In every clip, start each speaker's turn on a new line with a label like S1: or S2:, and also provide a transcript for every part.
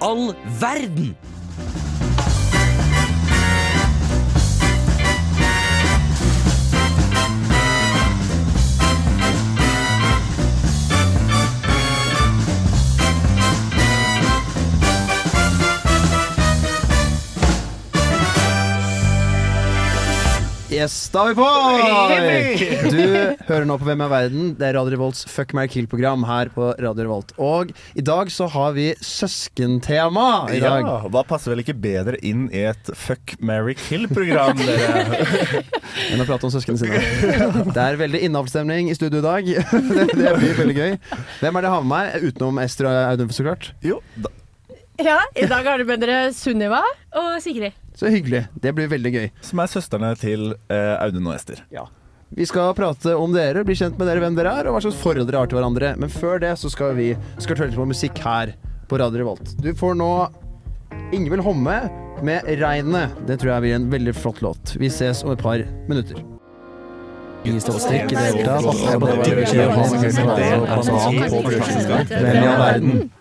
S1: all verden?
S2: Yes, da er vi på! Du hører nå på Hvem er verden? Det er Radio Revolts Fuck Marry Kill-program her på Radio Revolt. Og i dag så har vi søskentema. i dag.
S3: Ja, Hva passer vel ikke bedre inn i et Fuck, marry, kill-program? dere?
S2: enn å prate om søsknene sine. Det er veldig innavlsstemning i studio i dag. Det, det blir veldig gøy. Hvem er det jeg har med meg, utenom Ester og Audun, så klart?
S3: Jo, da,
S4: Ja, I dag har du med dere Sunniva og Sigrid.
S2: Så hyggelig. Det blir veldig gøy.
S3: som er søstrene til eh, Audun og Ester.
S2: Vi skal prate om dere, bli kjent med dere, hvem dere er, og hva slags forhold dere har til hverandre. Men før det så skal vi skartøre litt på musikk her på Radio Revolt. Du får nå Ingvild Homme med 'Regnet'. Det tror jeg blir en veldig flott låt. Vi ses om et par minutter.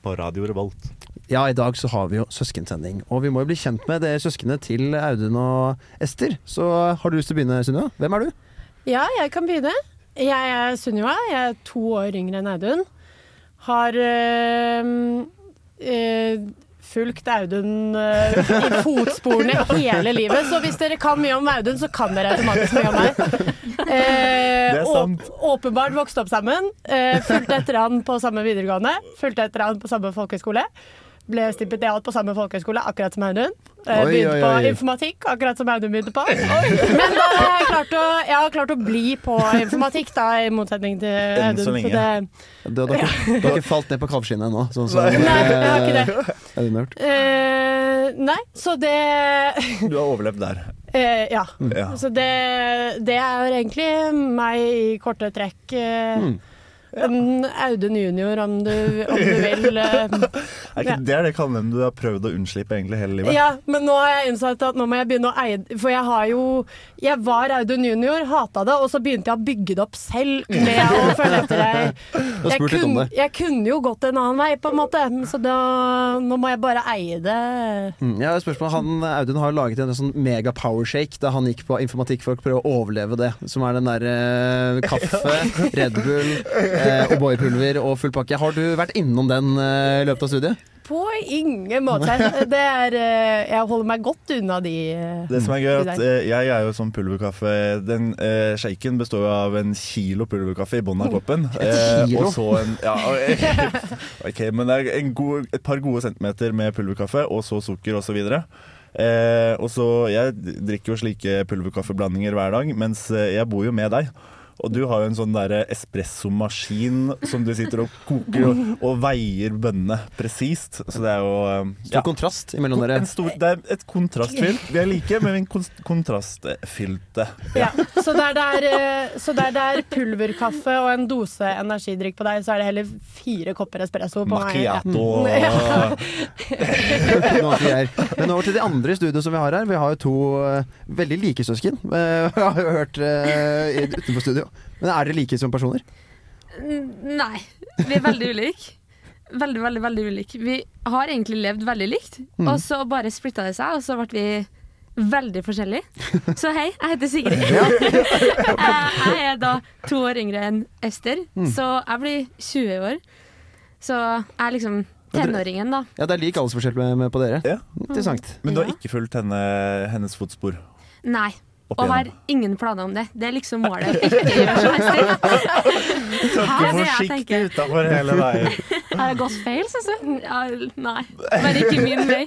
S3: På Radio Revolt.
S2: Ja, i dag så har vi jo søskensending, og vi må jo bli kjent med dere søsknene til Audun og Ester. Så har du lyst til å begynne, Sunniva? Hvem er du?
S4: Ja, jeg kan begynne. Jeg er Sunniva. Jeg er to år yngre enn Audun. Har eh, eh, fulgt Audun eh, i fotsporene hele livet. Så hvis dere kan mye om Audun, så kan dere automatisk mye om meg. Eh,
S3: Det er sant.
S4: åp- åpenbart vokst opp sammen. Eh, fulgte etter han på samme videregående. Fulgte etter han på samme folkehøyskole. Ble stipendiat på samme folkehøyskole, akkurat som Audun. Eh,
S2: Oi,
S4: begynte
S2: oi,
S4: på
S2: oi.
S4: informatikk, akkurat som Audun begynte på. Men da har jeg klart å, jeg har klart å bli på informatikk, da, i motsetning til
S3: Enn
S4: Audun.
S3: så lenge.
S4: det,
S2: Du, du, har ikke, du har ikke falt ned på kalvskinnet ennå, sånn som
S3: Nei.
S4: nei, jeg har ikke det.
S2: eh, Audun har gjort.
S4: Eh, nei, så det
S3: Du har overlevd der.
S4: eh, Ja.
S3: Ja.
S4: Så det, det er egentlig meg i korte trekk. eh,
S3: Mm.
S4: en Audun junior, om du, om du vil. eh,
S3: Er ikke det det kallenavnet du har prøvd å unnslippe egentlig hele livet?
S4: Ja, men nå har jeg innsett at nå må jeg begynne å eie For jeg har jo Jeg var Audun junior, hata det, og så begynte jeg å bygge det opp selv med å følge etter deg.
S2: har spurt litt om det.
S4: jeg kunne jo gått en annen vei, på en måte, så da, nå må jeg bare eie det.
S2: Mm, jeg har et spørsmål. Han, Audun har laget en sånn mega powershake da han gikk på informatikk for å prøve å overleve det. Som er den der eh, kaffe, Red Bull, eh, O'boy-pulver og full pakke. Har du vært innom den eh, i løpet av studiet?
S4: På ingen måte. Det er eh, Jeg holder meg godt unna de eh,
S3: Det som er gøy, er at
S4: Det
S3: eh, jeg er jo sånn pulverkaffe Den eh, shaken består jo av en kilo pulverkaffe i bånn av koppen. Eh,
S2: Oh, kilo?
S3: og så en ja, og- Ok, men det er en god, et par gode centimeter med pulverkaffe, og så sukker osv. Eh, og så Jeg drikker jo slike pulverkaffeblandinger hver dag, mens eh, jeg bor jo med deg. Og du har jo en sånn der espressomaskin som du sitter og koker og, og veier bønnene presist. Så det er jo eh,
S2: Stor kontrast imellom dere.
S3: en stor, det er et kontrastfylt. Vi er like, men en kon- kontrastfylte.
S4: Ja. Så der det er, eh, så der det er pulverkaffe og en dose energidrikk på deg, så er det heller fire kopper espresso på meg. Ja.
S3: Macchiato og
S2: Noe annet vi er. Men over til de andre i studio som vi har her. Vi har jo to eh, veldig like søsken. eh, har jeg hørt eh, i- utenfor studio. Men er dere like som personer?
S5: Nei. Vi er veldig ulike. Veldig, veldig veldig ulike. Vi har egentlig levd veldig likt, og så bare splitta det seg, og så ble vi veldig forskjellige. Så hei, jeg heter Sigrid. Eh, jeg er da to år yngre enn Ester, så jeg blir 20 i år. Så jeg er liksom tenåringen, da.
S2: Ja, det er lik aldersforskjell med, med på dere.
S3: Ja.
S2: Interessant.
S3: Men du har ikke fulgt henne, hennes fotspor?
S5: Nei.
S3: Opp
S5: Og har
S3: igjennom.
S5: ingen planer om det. Det er liksom målet. Ikke gjøre som Ester.
S3: Tråkke
S5: det jeg
S3: forsiktig
S5: tenker.
S3: utafor hele veien.
S5: Har jeg gått feil, syns du? Ja, nei. Bare ikke min vei.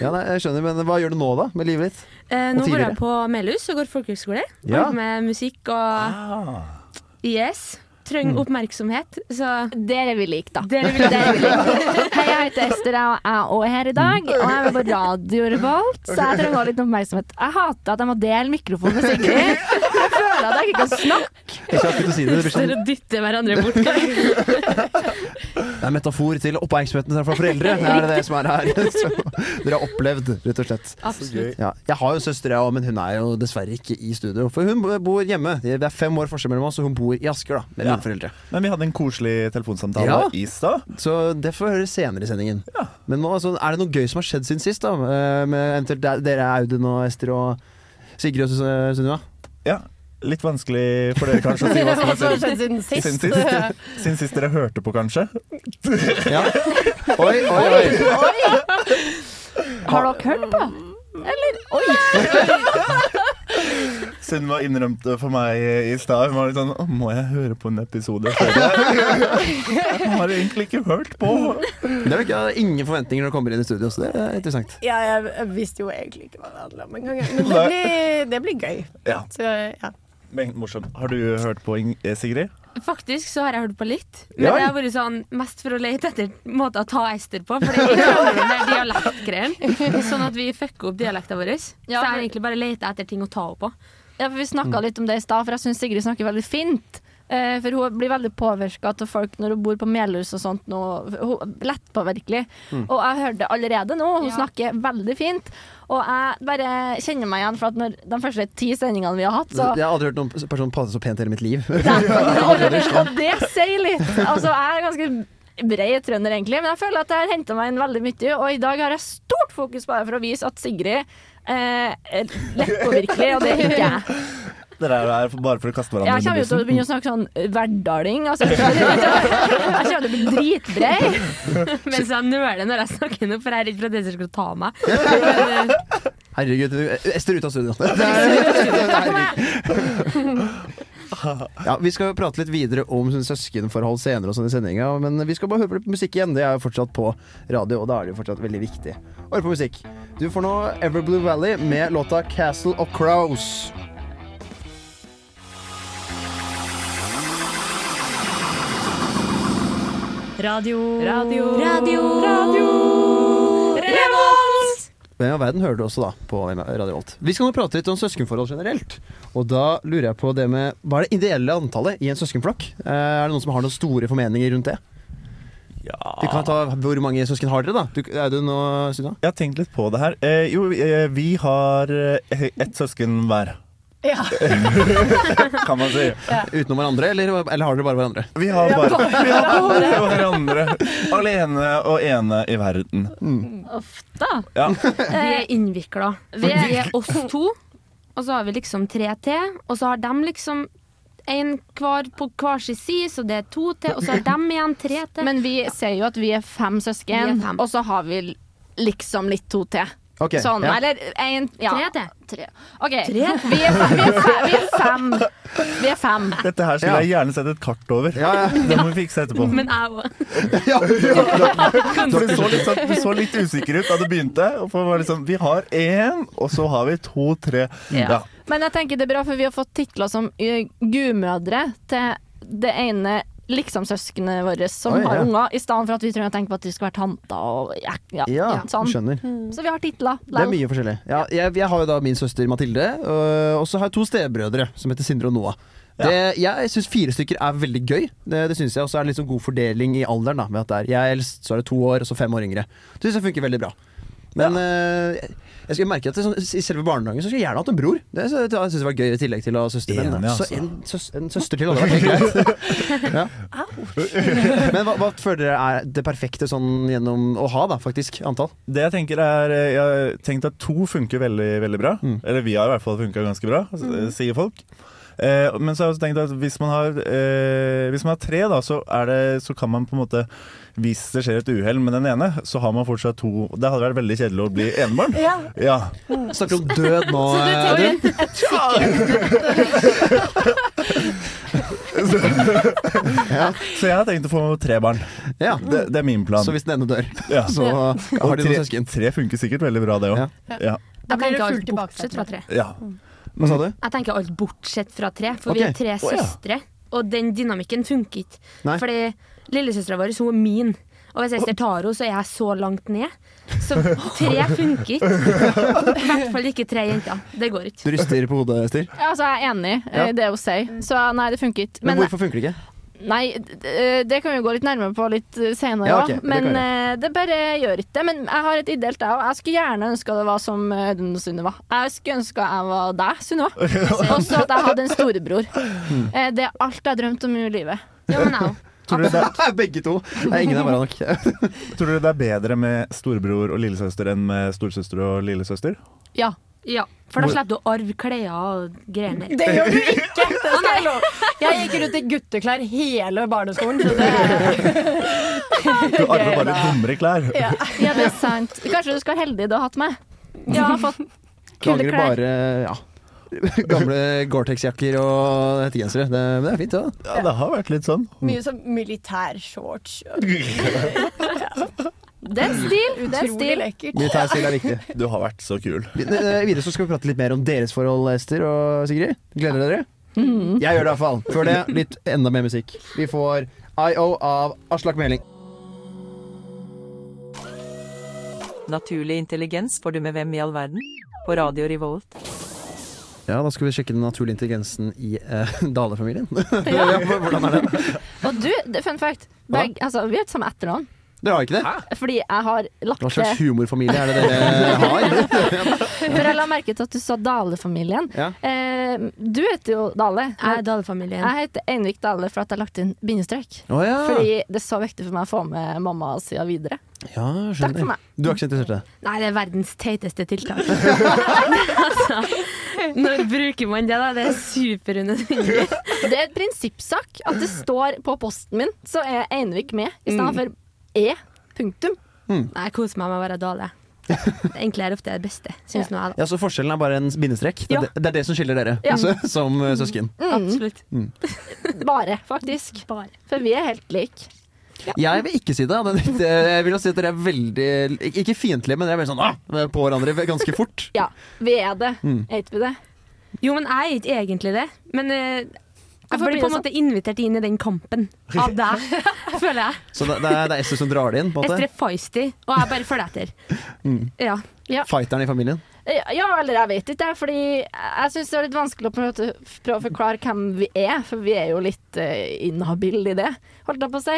S2: Ja, nei, jeg skjønner, Men hva gjør du nå, da? Med livet ditt?
S5: Eh, nå
S2: Og
S5: går
S2: tidligere.
S5: jeg på Melhus og går folkehøgskole. Og
S2: Ja.
S5: jobber med musikk og
S3: Ah,
S5: Yes.
S2: Mm.
S5: Trenger oppmerksomhet, så
S6: Der er vi like, da.
S5: dere vil
S6: Der er vi like. Hei, jeg heter Ester, og jeg er også her i dag. Og jeg er på Radio Revolt, så jeg trenger også litt oppmerksomhet. Jeg hater at jeg må dele mikrofon med Sigrid. Jeg føler at jeg ikke kan snakke.
S2: Jeg skal akkurat si det. Det blir sånn,
S5: Dere dytter hverandre bort.
S2: det er en metafor til oppmerksomheten fra foreldre. Det er det som er her. Så, dere har opplevd, rett og slett.
S5: Absolutt.
S2: Ja, jeg har jo søster, jeg òg, men hun er jo dessverre ikke i studio. For hun bor hjemme. Det er fem år forskjell mellom oss, og hun bor i Asker da, med
S3: Ja.
S2: mine foreldre.
S3: Men vi hadde en koselig telefonsamtale
S2: Ja.
S3: i stad.
S2: Så det får vi høre senere i sendingen. Men nå, altså, er det noe gøy som har skjedd siden sist, da? Eh, Med eventuelt de- dere, Audun og Ester og Sigrid og Su- Sunniva?
S3: Ja, litt vanskelig for dere kanskje å si hva som har skjedd.
S4: skjedd siden sist?
S3: Siden sist, siden sist dere hørte på, kanskje?
S2: Ja. Oi, oi, oi.
S6: Har dere hørt på? Eller Oi!
S3: Sunniva innrømte for meg i stad. Hun var litt sånn «Å, Må jeg høre på en episode? før jeg-» Jeg har egentlig ikke hørt på.
S2: Det er jo ikke, ingen forventninger når du kommer inn i studio, så det er interessant.
S4: Ja, jeg jeg visste jo egentlig ikke hva det handla om engang. jeg. Men det blir, det blir gøy.
S3: Ja,
S4: Så, ja.
S3: men morsomt. Har du hørt på, Ing- eh, Sigrid?
S5: Faktisk så har jeg hørt på litt, men
S3: Ja.
S5: det har vært sånn mest for å lete etter måter å ta Ester på. For det er den der dialektgreien. Sånn at vi fucker opp dialekten vår. så jeg
S6: Ja,
S5: har
S6: for-
S5: egentlig bare leta etter ting å ta henne på.
S6: Ja, for Vi snakka litt om det i stad, for jeg syns Sigrid snakker veldig fint. Eh, for hun blir veldig påvirka av folk når hun bor på Melhus og sånt. Nå. Hun er lettpåvirkelig. Og jeg hørte det allerede nå, hun
S5: Ja.
S6: snakker veldig fint. Og jeg bare kjenner meg igjen, for at når de første ti sendingene vi har hatt, så
S2: Jeg har aldri hørt noen person prate så pent i hele mitt liv.
S6: og det sier litt. Altså, jeg er ganske bred trønder, egentlig, men jeg føler at jeg har henta meg inn veldig mye. Og i dag har jeg stort fokus bare for å vise at Sigrid eh, er lettpåvirkelig, og det er ikke jeg.
S3: Dere er her for- bare for å kaste hverandre
S6: Jeg kommer jo til å begynne å snakke sånn eh, hverdaling. Altså, jeg kommer til å bli dritbred.
S5: Mens jeg nøler når jeg snakker nå, for jeg er redd for at Ester skal ta meg. Men, eh,
S2: Herregud, du- Ester ut av studio. Det er- Ja, vi skal prate litt videre om sånn søskenforhold senere, og sånn i sendinga, men vi skal bare høre på litt musikk igjen. Det er jo fortsatt på radio, og da er det jo fortsatt veldig viktig å høre på musikk. Du får nå Everblue Valley med låta 'Castle of Crows'.
S4: Radio.
S6: Radio.
S2: Hvem av verden hører du også da på Radio Volt? Vi skal nå prate litt om søskenforhold generelt. Og da lurer jeg på det med Hva er det ideelle antallet i en søskenflokk? Eh, Er det noen som har noen store formeninger rundt det? Vi kan ta Hvor mange søsken har dere, da? Du, Audun og Sunna?
S3: Jeg har tenkt litt på det her. Eh, jo, eh, vi har eh, ett søsken hver,
S4: Ja.
S3: kan man si.
S2: Utenom hverandre, eller, eller har dere bare hverandre?
S3: Vi har bare, vi har bare hverandre. Alene og ene i verden.
S6: Ofte.
S3: Ja.
S5: vi er innvikla. Eh, Vi er oss to, og så har vi liksom tre til. Og så har de liksom én hver på hver sin side, så det er to til. Og så har de igjen tre til.
S6: Mm. Men vi ser jo at vi er fem søsken,
S5: Vi er fem.
S6: og så har vi liksom litt to til.
S2: Ok,
S6: sånn,
S2: ja.
S6: eller en, ja.
S5: Tre til.
S6: Tre. OK, Vi, er, fe- vi, er fe, vi er fem. Vi er fem.
S3: Dette her skulle jeg gjerne sett et kart over.
S2: Ja, ja.
S3: Det må vi fikse etterpå.
S5: Men jeg òg.
S2: ja, ja.
S3: For Du så, litt, sånn- du så litt usikker ut da du begynte. Og for det var liksom, vi har én, og så har vi to, tre. Ja.
S6: Men jeg tenker det er bra, for vi har fått titler som eh, gudmødre til det ene liksom-søskenet vårt som
S2: Oi,
S6: har
S2: ja.
S6: unger, i stedet for at vi trenger å tenke på at vi skal være tanter og ja, ja,
S2: ja
S6: sånn.
S2: skjønner.
S6: Så vi har titler.
S2: Det er mye forskjellig. Ja, jeg, jeg har jo da min søster Mathilde, øh, og så har jeg to stebrødre som heter Sindre og Noah. Det, Jeg syns fire stykker er veldig gøy. Det, det synes jeg, Og så er det litt sånn god fordeling i alderen. da Ved at det er Jeg er eldst, så er det to år, og så fem år yngre. Det syns jeg funker veldig bra. Men øh, jeg, jeg skulle merke at det, er sånn, i selve barnehagen så skulle jeg gjerne hatt en bror. Det, sy- det syns jeg var gøy, i tillegg til å ha søster. Men
S3: Enig, altså.
S2: så en, søs, en søster til hadde vært helt greit. ja. Men hva, hva føler dere er det perfekte sånn gjennom å ha, da, faktisk? Antall?
S3: Det jeg tenker er eh, Jeg har tenkt at to funker veldig, veldig bra.
S2: Mm.
S3: Eller vi har i hvert fall funka ganske bra, s- sier folk. Eh, men så har jeg også tenkt at hvis man har, eh, hvis man har tre, da, så, er det, så kan man på en måte Hvis det skjer et uhell med den ene, så har man fortsatt to. Det hadde vært veldig kjedelig å bli enebarn.
S4: ja.
S3: Ja.
S2: Snakker om død nå.
S4: Så du
S2: Audun.
S4: trenger et, et sikkert
S3: Så jeg har tenkt å få tre barn.
S2: Ja,
S3: Det, det er min plan.
S2: så hvis den ene dør,
S3: ja.
S2: så
S3: Og
S2: har de noen søsken.
S3: Tre funker sikkert veldig bra, det òg. Ja.
S4: Da
S5: Jeg
S4: blir det
S5: tenker
S4: fullt
S5: alt
S4: i
S5: bortsett fra
S4: baksetet.
S5: tre.
S3: Ja.
S2: Hva sa du?
S5: Jeg tenker alt bortsett fra tre, for vi
S2: Ok.
S5: er tre
S3: Å, ja.
S5: søstre. Og den dynamikken funker ikke.
S2: Nei.
S5: Fordi lillesøstera vår hun er min. Og hvis Ester tar henne, så er jeg så langt ned. Så tre funker ikke. I hvert fall ikke tre jenter. Det går ikke.
S2: Du rister på hodet, Ester.
S6: Ja, altså, jeg er enig i
S2: Ja.
S6: eh, det hun sier, så nei, det funker ikke.
S2: Men,
S6: Men
S2: hvorfor funker det ikke?
S6: nei, d- eh, det kan vi jo gå litt nærmere på litt eh, senere
S2: Ja,
S6: òg,
S2: ok, det kan
S6: men
S2: vi
S6: eh, det bare gjør ikke det. Men jeg har et ideelt, jeg òg. Jeg skulle gjerne ønska det var som eh, Audun og Sunniva. Jeg skulle ønska jeg var deg, Sunniva.
S2: Hmm.
S6: Og så at jeg hadde en storebror. Eh, Det er alt jeg har drømt om i livet.
S5: Ja, men jeg òg.
S3: Tror dere, det,
S2: Begge to. Nei, ingen er bra nok.
S3: er- tror dere det er bedre med storebror og lillesøster enn med storesøster og lillesøster?
S6: Ja.
S5: Ja, for da slipper du å arve klær og greier der.
S4: Det gjør du ikke! Det skal jeg love. Jeg gikk rundt i gutteklær hele barneskolen. Så det,
S3: Du arver bare dummere klær.
S4: ja.
S6: ja, det er sant. Kanskje du skal være heldig du har hatt meg. Ja, fått
S2: Du
S6: kule
S2: angrer
S6: klær.
S2: bare ja. Gamle Gore-Tex-jakker og hettegensere. Det, men det er fint, det.
S3: Ja, det har vært litt sånn.
S4: Mye sånn militærshorts.
S6: Det er stil. Det er
S4: Utrolig
S6: stil.
S4: lekkert.
S2: Militær stil er viktig.
S3: Du har vært så kul.
S2: Vi- eh, Videre så skal vi prate litt mer om deres forhold, Ester og Sigrid. Gleder dere? Jeg gjør det iallfall. Før det, litt enda mer musikk. Vi får IO av Aslak Meling.
S1: Naturlig intelligens får du med hvem i all verden? På Radio Revolt.
S2: Ja, da skal vi sjekke den naturlige intelligensen i eh, Dale-familien. Ja, Hvordan er det?
S6: Og du, det er fun fact. Beg, altså, vi har ikke samme etternavn.
S2: Dere har ikke det?
S6: Fordi jeg har
S2: Hva
S6: lagt
S2: slags
S6: til
S2: humorfamilie er det dere har?
S6: For jeg la merke til at du sa Dale-familien.
S2: Ja.
S6: Eh, du heter jo Dale.
S5: Jeg er
S6: men
S5: Dale-familien.
S6: Jeg heter Einvik Dale for at jeg har lagt inn bindestrek.
S2: Å ja.
S6: Fordi det er så viktig for meg å få med mamma sida videre.
S2: ja,
S6: Takk for
S2: skjønner.
S6: meg.
S2: Du er ikke så interessert i det?
S5: Nei, det er verdens teiteste tiltak. altså, når bruker man det, da? Det er superunødvendig.
S6: Det er et prinsippsak at det står på posten min, så er Einvik med, i stedet for E. Punktum.
S5: Nei, Jeg koser meg med å være Dale. Egentlig er ofte det beste, syns nå jeg, da.
S2: Ja, Så forskjellen er bare en bindestrek? Det
S5: Ja. Mm,
S2: er, det, det, er det som skiller dere
S6: Ja.
S2: så, som eh, søsken?
S5: Absolutt.
S6: Bare, faktisk.
S5: Bare.
S6: For vi er helt like.
S2: Jeg vil ikke si det. det jeg vil si at dere er veldig ik- Ikke fiendtlige, men dere er veldig sånn ah, på hverandre ganske fort.
S6: Ja, vi er det. Er ikke vi det?
S5: Jo, men jeg er ikke egentlig det. Men eh, jeg
S6: Hvorfor
S5: blir
S6: blir
S5: på
S6: det
S5: en måte invitert inn i den kampen av deg, føler jeg.
S2: Så det, det er, det er Esther som drar det inn. på en måte Mm.
S5: Ester er feisty, og jeg bare følger etter. Ja.
S2: Fighteren i familien.
S6: Ja, eller jeg vet ikke, jeg, fordi jeg syns det er litt vanskelig å på en måte prøve å forklare hvem vi er, for vi er jo litt uh, inhabile i det, holdt jeg på å si.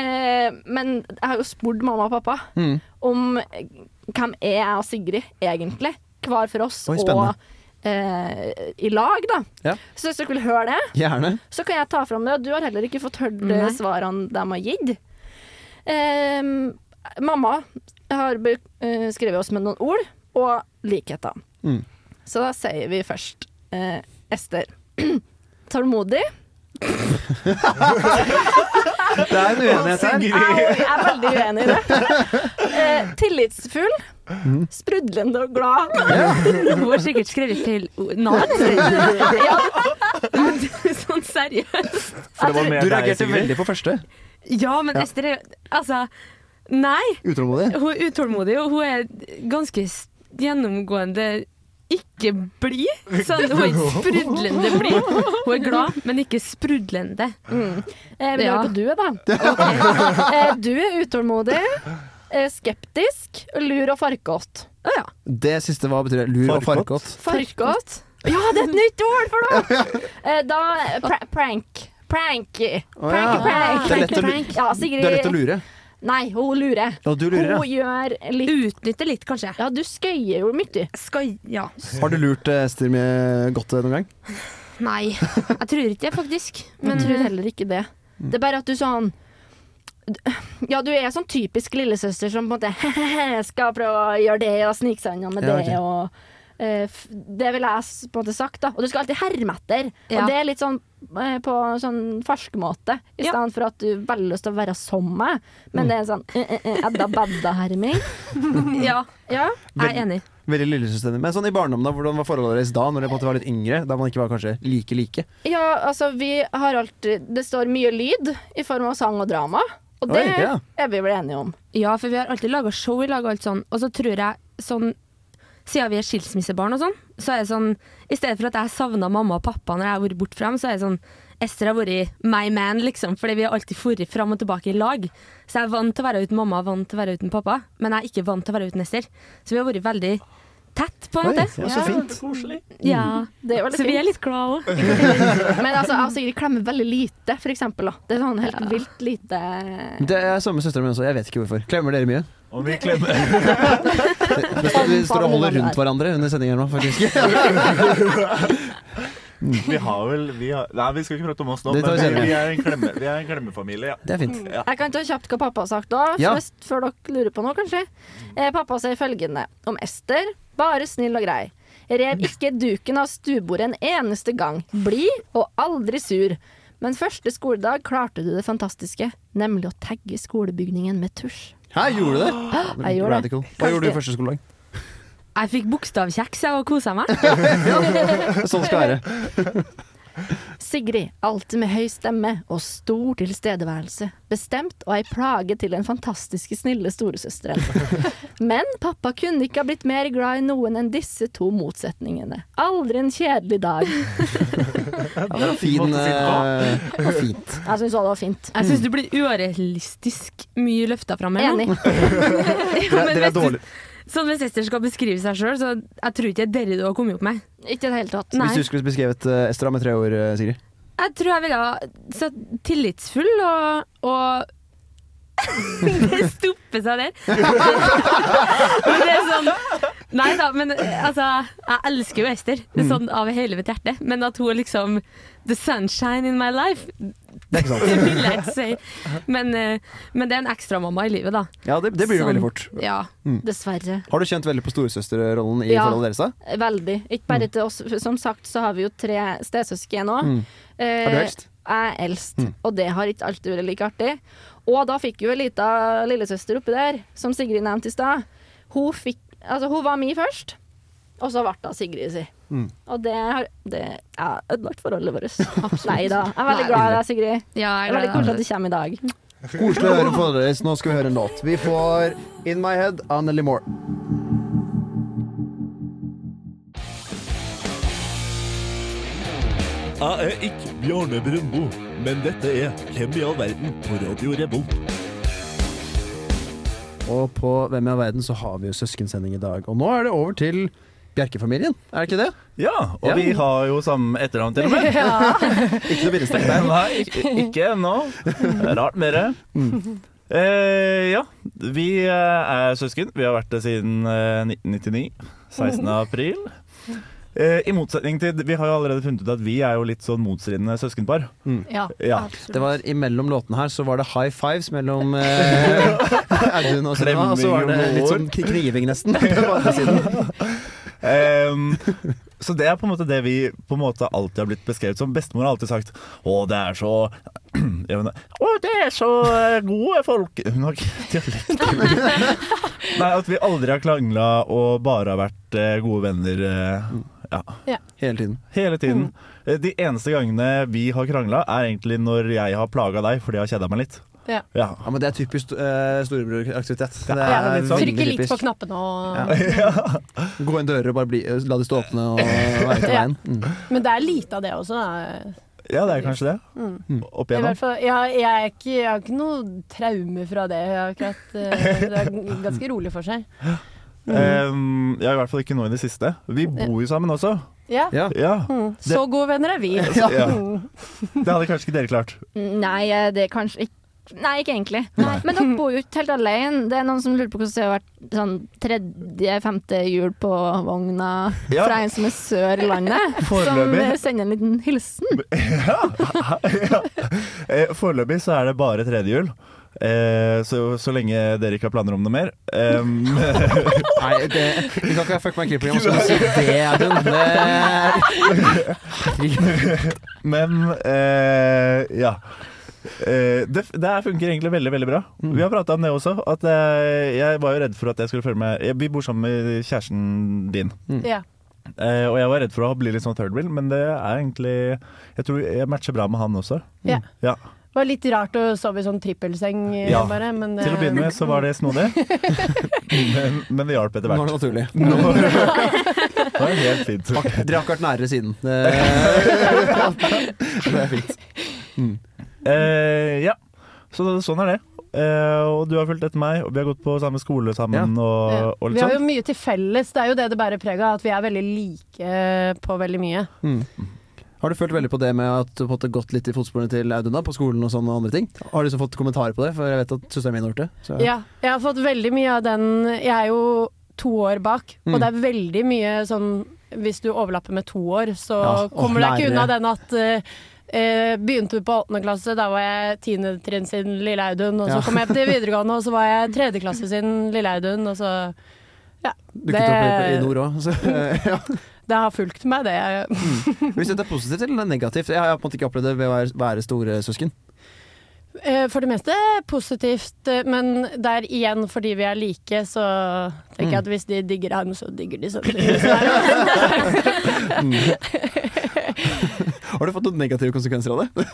S6: Eh, men jeg har jo spurt mamma og pappa
S2: Mm.
S6: om eh, hvem er jeg og Sigrid egentlig, hver for oss
S2: Oi, spennende.
S6: og eh, i lag, da.
S2: Ja.
S6: Så hvis dere vil høre det,
S2: Gjerne.
S6: så kan jeg ta fram det, og du har heller ikke fått hørt eh,
S5: Nei.
S6: svarene de har gitt. Ehm, mamma har be- eh, skrevet oss med noen ord og likheter.
S2: Mm.
S6: Så da sier vi først eh, Ester. Tålmodig.
S2: Det er en uenighet her.
S6: Au, jeg er veldig uenig i det. Eh, tillitsfull. Mm. Sprudlende og glad.
S5: Hun har sikkert skrevet feil ord- navn. Ja. Sånn seriøst.
S3: For det var mer
S2: Du
S3: deg,
S2: reagerte
S3: Sigrid.
S2: veldig på første.
S5: Ja, men Ester er jo Altså, nei.
S2: Utålmodig.
S5: Hun er utålmodig, og hun er ganske s- gjennomgående ikke blid. Sånn, hun er ikke sprudlende blid. Hun er glad, men ikke sprudlende.
S6: Eh, vi
S5: Ja.
S6: går på du, da. Eh, du er utålmodig, eh, skeptisk, lur og farkåt.
S5: Å ja.
S2: Det siste var betyr det? lur og
S3: Farkott.
S2: farkott.
S6: Farkot? Ja, det er et nytt ord for noe! Eh, Da pra prank. Pranky.
S2: Å, ja.
S6: Pranky, prank.
S2: Det er lett å lu-
S6: Prank. Ja, Sigrid.
S2: Det er lett å lure.
S6: Nei, hun lurer.
S2: Og du lurer,
S6: Hun
S2: ja.
S6: gjør litt
S5: Utnytte litt, kanskje.
S6: Ja, du skøyer jo mye.
S5: Skal Ja.
S2: Har du lurt eh, Ester med godt eh, noen gang?
S5: Nei. Jeg tror ikke det, faktisk.
S6: Jeg
S5: Men
S6: tror heller ikke det.
S5: Mm.
S6: Det er bare at du sånn ja, du er sånn typisk lillesøster som på en måte skal prøve å gjøre det og snike seg unna med
S2: Ja, ok.
S6: det og eh, f- Det ville jeg s- på en måte sagt, da. Og du skal alltid herme etter.
S5: Ja.
S6: Og det er litt sånn eh, på en sånn farskemåte, i
S5: Ja. Mm.
S6: stedet for at du veldig lyst til å være som meg. Men det er en sånn eh, eh, eh, edda-bedda-herming.
S5: ja,
S6: Ja.
S5: jeg er enig.
S2: Veldig lillesøster. Men sånn i barndommen, da, hvordan var forholdet deres da, når dere på en måte var litt yngre? Da man ikke var kanskje like like?
S6: ja, altså, vi har alltid Det står mye lyd i form av sang og drama, og det
S2: Oi, ja.
S6: er vi vel enige om.
S5: Ja, for vi har alltid laga show i lag og alt sånn, og så tror jeg sånn Siden vi er skilsmissebarn og sånn, så er det sånn I stedet for at jeg savna mamma og pappa når jeg har vært borte fra dem, så er det sånn Ester har vært my man, liksom, fordi vi har alltid forret fram og tilbake i lag. Så jeg er vant til å være uten mamma, vant til å være uten pappa, men jeg er ikke vant til å være uten Ester. Så vi har vært veldig tett, på en
S2: Oi,
S5: måte.
S2: det var så Mm. fint.
S5: Ja.
S6: Det er veldig
S5: Så vi
S6: fint.
S5: er litt glad òg.
S6: Men altså, jeg og Sigrid klemmer veldig lite, for eksempel. Da. Det er sånn helt vilt lite
S2: Det er samme søstera mi også. Jeg vet ikke hvorfor. Klemmer dere mye?
S3: Om vi klemmer
S2: Det, det, det står og holder rundt hverandre under sendingen nå, faktisk.
S3: Vi har vel vi har, Nei, vi skal ikke prate om oss nå,
S2: Det tar
S3: men
S2: vi
S3: vi,
S2: senere.
S3: vi, er en klemme, vi er en klemmefamilie. Ja.
S2: Det er fint.
S6: Jeg kan ta kjapt hva pappa har sagt da,
S2: Ja.
S6: først, før dere lurer på noe, kanskje. Eh, pappa sier følgende om Ester. Bare snill og grei. Rev ikke duken av stuebordet en eneste gang. Blid og aldri sur. Men første skoledag klarte du det fantastiske, nemlig å tagge skolebygningen med tusj.
S2: Hæ, gjorde du det?
S6: Jeg gjorde det.
S2: Radical. Hva gjorde du første skoledag?
S5: Jeg fikk bokstavkjeks jeg, og kosa meg.
S2: Sånn skal det være.
S6: Sigrid, alltid med høy stemme og stor tilstedeværelse. Bestemt og ei plage til den fantastiske, snille storesøsteren. Men pappa kunne ikke ha blitt mer glad i noen enn disse to motsetningene. Aldri en kjedelig dag.
S2: Ja, det var fin,
S3: måte å si det på.
S2: eh, det var fint.
S6: Jeg syns også det var fint.
S5: Jeg syns du blir urealistisk mye løfta fram. her nå.
S6: Enig.
S5: Ja,
S2: Dere,
S5: men
S2: dere er
S5: hvis-
S2: dårlig.
S5: Sånn Hvis Ester skal beskrive seg sjøl, så jeg tror ikke det er dere du har kommet opp med.
S6: Ikke i det hele tatt.
S5: Nei.
S2: Hvis du skulle beskrevet eh, Estra med tre ord, eh, Sigrid?
S5: Jeg tror jeg ville ha så tillitsfull og, og Det stopper seg der. men det er sånn Nei da, men altså Jeg elsker jo Ester Det
S2: Mm.
S5: er sånn av hele mitt hjerte. Men at hun er liksom The sunshine in my life,
S2: Det er ikke sant.
S5: det vil jeg ikke si. Men, eh, men det er en ekstramamma i livet, da.
S2: Ja, det, det blir jo
S5: Sånn.
S2: veldig fort.
S5: Ja.
S6: Mm. Dessverre.
S2: Har du kjent veldig på storesøsterrollen i
S6: Ja.
S2: forholdet deres? da?
S6: Veldig. Ikke bare til oss. Som sagt så har vi jo tre stesøsken Eh, òg.
S2: Mm. Har du helst?
S6: Jeg er eldst, og det har ikke alltid vært like artig. Og da fikk jo ei lita lillesøster oppi der, som Sigrid nevnte i stad. Hun, fikk, altså, hun var mi først, og så ble hun Sigrid si.
S2: Mm.
S6: Og det har det, ja, ødelagt forholdet vårt. Nei da. Jeg er veldig glad i deg, Sigrid.
S5: ja
S6: Det
S5: jeg
S6: er
S5: er glad
S6: veldig
S5: i det.
S6: koselig at du kommer i dag.
S2: Koselig å høre på dere. Nå skal vi høre en låt. Vi får In My Head av Nelly Moore.
S7: Jeg er ikke Bjarne Brøndbo, men dette er Hvem i all verden på Radio Revolt.
S2: Og på Hvem i all verden så har vi jo søskensending i dag. Og nå er det over til Bjerke-familien, er det ikke det?
S3: ja, og
S2: Ja.
S3: vi har jo samme etternavn til og med.
S2: Ikke noe bindestrekk der.
S3: Nei, ikke- ikke ennå. Rart med det. Eh, ja, vi eh, er søsken. Vi har vært det siden eh, 1999. 16. april. Eh, I motsetning til Vi har jo allerede funnet ut at vi er jo litt sånn motstridende søskenpar.
S6: Ja.
S3: Mm. Ja.
S2: Det var Imellom låtene her så var det high fives mellom eh, Audun og Selma. Og så var det litt sånn kn- kniving, nesten. på andre siden.
S3: Ehm, så det er på en måte det vi på en måte alltid har blitt beskrevet som. Bestemor har alltid sagt 'Å, det er så Jeg mener, Å, det er så eh, gode folk Hun har ikke dialekt. Nei, at vi aldri har klangla og bare har vært eh, gode venner eh, ja,
S2: Hele tiden.
S3: hele tiden. Eh, De eneste gangene vi har krangla, er egentlig når jeg har plaga deg fordi jeg har kjeda meg litt.
S4: Ja.
S3: Ja.
S2: Ja, men Det er typisk eh, storebroraktivitet. Det
S3: er
S2: er
S3: litt sånn.
S2: veldig
S4: Trykke litt på
S2: typisk.
S4: knappene og
S2: Gå inn dører og bare bli, eh, la de stå åpne og være til
S4: Ja.
S2: veien. Mm.
S4: Men det er lite av det også. Da.
S3: ja, det er kanskje det. Opp
S4: Mm. I
S3: igjennom.
S4: hvert fall, jeg, jeg, er ikke, jeg har ikke noe traume fra det. Jeg har akkurat, eh, det er ganske rolig for seg. Mm.
S3: Ehm, ja, i hvert fall ikke nå i det siste. Vi bor jo sammen også.
S4: Ja.
S2: Ja.
S3: Ja.
S4: Mm. Så gode venner er vi.
S3: Ja.
S4: Mm.
S3: Det hadde kanskje ikke dere klart.
S6: Nei, eh, det er kanskje ikke Nei, ikke egentlig. Men dere bor jo ikke helt alene. Det er noen som lurer på hvordan det har vært sånn tredje-femte hjul på vogna
S3: Ja.
S6: fra en som er sør i landet. Som
S3: Foreløpig.
S6: eh, sender en liten hilsen.
S3: Eh, foreløpig så er det bare tredjehjul. Eh, så, så lenge dere ikke har planer om det mer. Em,
S2: Nei, det, vi kan ikke fuck my clipper igjen. Skal du si det, Audun? Det- Herregud.
S3: men eh, ja. Eh, det, det her funker egentlig veldig veldig bra. Vi har prata om det også. At eh, Jeg var jo redd for at jeg skulle føle meg jeg, Vi bor sammen med kjæresten din.
S4: Ja.
S3: Eh, og jeg var redd for å bli litt sånn third wheel, men det er egentlig Jeg tror jeg matcher bra med han også.
S4: Ja.
S3: Ja.
S4: Det var litt rart å sove i sånn trippelseng, eh,
S3: Ja.
S4: bare. Men det,
S3: Til å begynne med så var det snodig, men, men det hjalp etter
S2: Nå er
S3: hvert.
S2: det naturlig.
S3: Nå det var helt fint.
S2: Dere har ikke vært nærere siden. Det, det er fint.
S3: Eh, ja, så sånn er det. Eh, og du har fulgt etter meg, og vi har gått på samme skole sammen.
S4: Ja.
S3: Og, og
S4: Vi
S3: litt
S4: har jo
S3: sånn.
S4: mye til felles. Det er jo det det bærer preg av, at vi er veldig like eh, på veldig mye.
S2: Har du følt veldig på det med at du på en måte gått litt i fotsporene til Audun da, på skolen og sånne andre ting? Har du liksom fått kommentarer på det? For jeg vet at søsteren min har gjort det. Så.
S4: Ja, jeg har fått veldig mye av den Jeg er jo to år bak,
S2: Mm.
S4: og det er veldig mye sånn hvis du overlapper med to år, så
S2: Ja, åh,
S4: kommer du deg ikke unna
S2: lærere.
S4: den at eh, eh, begynte på 8. klasse, da var jeg 10. trinn sin Lille Audun, og så
S2: Ja.
S4: kom jeg til videregående, og så var jeg 3. klasse sin Lille Audun, og så Ja.
S2: Dukket opp i- i
S4: Det,
S2: nord òg. Ja.
S4: det har fulgt meg, det.
S2: Hvis dette er positivt eller negativt? Jeg har på en måte ikke opplevd det ved å være- være store søsken.
S4: Eh, For det meste positivt, eh, men der igjen, fordi vi er like, så tenker
S2: Mm.
S4: jeg at hvis de digger han, så digger de samtidig. Så er det-
S2: Har du fått noen negative konsekvenser av det?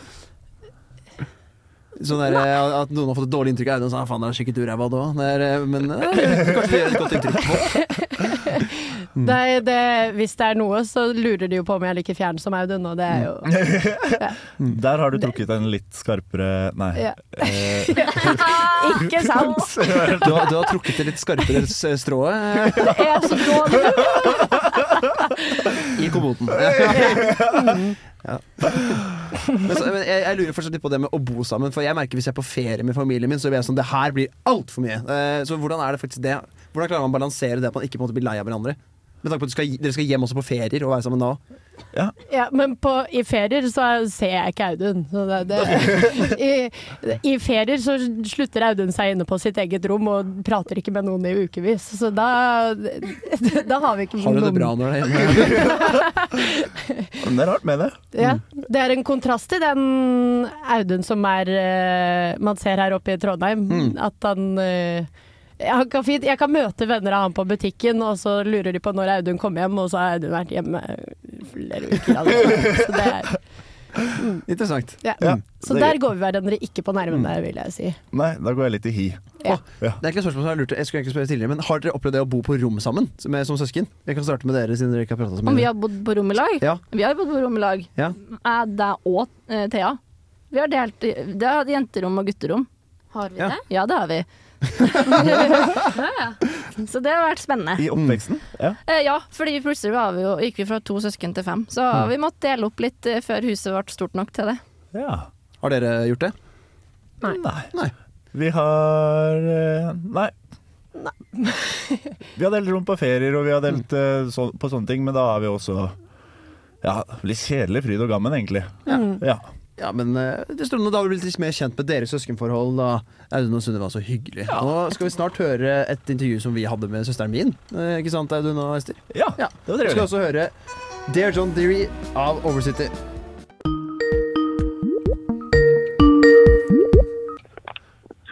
S2: Sånn der, eh, At noen har fått et dårlig inntrykk av Audun og sa faen, det er skikkelig uræva da. Det er, eh, Men eh, kanskje det gjør et godt inntrykk på folk.
S4: Nei, det, hvis det er noe, så lurer de jo på om jeg er like fjern som Audun, og det er jo
S2: Mm.
S3: Der har du trukket en litt skarpere Nei.
S4: Ja.
S3: Eh,
S4: ikke sant.
S2: Du har, du har trukket det litt skarpere s- eh, strået
S6: Det er så dårlig.
S2: eh, i kommoden. Ja. Men, så, men jeg, jeg lurer fortsatt litt på det med å bo sammen. For jeg merker Hvis jeg er på ferie med familien min, så blir jeg sånn, det her blir altfor mye. Eh, Så hvordan er det faktisk det? Hvordan klarer man å balansere det at man ikke på en måte blir lei av hverandre? Med tanke på at du skal, Dere skal hjem også på ferier og være sammen da.
S4: Ja, men på, i ferier så er- ser jeg ikke Audun. Så det, det, i, I ferier så slutter Audun seg inne på sitt eget rom og prater ikke med noen i ukevis. Så da, da har vi ikke
S2: Har du det
S4: noen-
S2: bra når du er hjemme?
S3: men det er rart med det.
S4: Ja,
S2: Mm.
S4: det er en kontrast til den Audun som er eh, man ser her oppe i Trondheim.
S2: Mm.
S4: At han eh, han kan fint, jeg kan møte venner av han på butikken, og så lurer de på når Audun kommer hjem, og så har Audun vært hjemme flere uker allerede. Så, det er,
S2: Interessant.
S4: ja.
S3: Ja,
S4: så
S3: det er
S4: der går vi hverandre ikke på nærmene, vil jeg si.
S3: Nei, da går jeg litt i hi.
S4: Ja.
S2: Det er ikke et spørsmål som jeg lurte Jeg skulle egentlig spørre tidligere Men Har dere opplevd det å bo på rom sammen som, som søsken? Vi kan starte med dere, siden dere ikke har prata så
S6: Om vi
S2: mye.
S6: har bodd på rom i lag?
S2: Ja.
S6: Vi har bodd på rom i lag.
S2: Ja.
S6: Jeg, deg og eh, Thea. Vi har delt Det er jenterom og gutterom.
S5: Har vi
S2: Ja.
S5: det?
S6: Ja, det har vi.
S5: Ja, ja.
S6: Så det har vært spennende.
S3: I oppveksten. Ja.
S6: Eh, ja, fordi plutselig var vi jo, gikk vi fra to søsken til fem. Så vi måtte dele opp litt eh, før huset ble stort nok til det.
S3: ja.
S2: Har dere gjort det?
S3: Nei.
S2: Nei.
S3: Vi har eh, Nei. vi har delt rom på ferier, og vi har delt eh, så, på sånne ting, men da er vi også ja, litt kjedelig fryd og gammen, egentlig. Ja.
S8: Mm.
S2: Ja, men eh, det stod noe da har vi blitt litt mer kjent med deres søskenforhold. Da Audun og Sunniva, så hyggelig. Nå skal vi snart høre et intervju som vi hadde med søsteren min. Eh, ikke sant, Audun og Ester?
S3: Ja,
S2: Ja.
S3: det var
S2: Vi skal
S3: trivelig.
S2: også høre Dear John Deary av Overcity.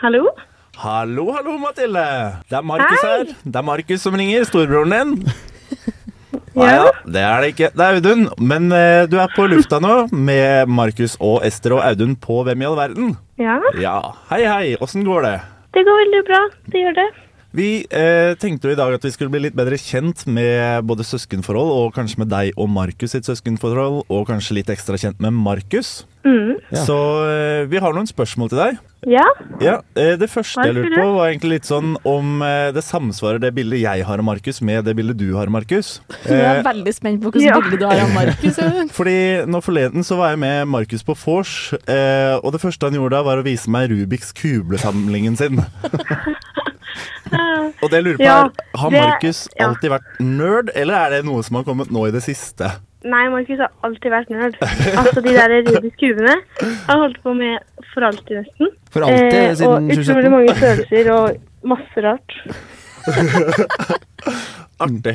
S8: Hallo?
S7: Hallo, hallo, Mathilde. Det er Markus her. Det er Markus som ringer, storebroren din.
S3: Nei, ja, det er det ikke. Det er Audun. Men eh, du er på lufta nå med Markus og Ester og Audun på Hvem i all verden?
S8: Ja,
S3: Ja. Hei, hei. Åssen går det?
S8: det går veldig bra. Det gjør det.
S3: Vi eh, tenkte jo i dag at vi skulle bli litt bedre kjent med både søskenforhold, og kanskje med deg og Markus sitt søskenforhold, og kanskje litt ekstra kjent med Markus.
S8: Mm.
S2: Ja.
S3: Så eh, vi har noen spørsmål til deg.
S8: Ja,
S3: Ja, eh, Det første jeg
S8: Hva er det
S3: lurte
S8: for
S3: på, var egentlig litt sånn om eh, det samsvarer det bildet jeg har av Markus, med det bildet du har av Markus.
S6: Jeg
S3: Eh,
S6: er veldig spent på hvordan
S8: Ja.
S6: bilde du har av Markus.
S3: fordi nå forleden så var jeg med Markus på vors, eh, og det første han gjorde da, var å vise meg Rubiks kubesamlingen sin. og det jeg lurer på
S8: Ja,
S3: er, har
S8: det-
S3: Markus
S8: ja.
S3: alltid vært nerd, eller er det noe som har kommet nå i det siste?
S8: nei, Markus har alltid vært nerd. Altså, de der rubiske kubene har holdt på med for alltid, nesten.
S2: For alltid siden
S8: Eh, og utrolig
S2: 2017.
S8: mange følelser og masse rart.
S3: Artig.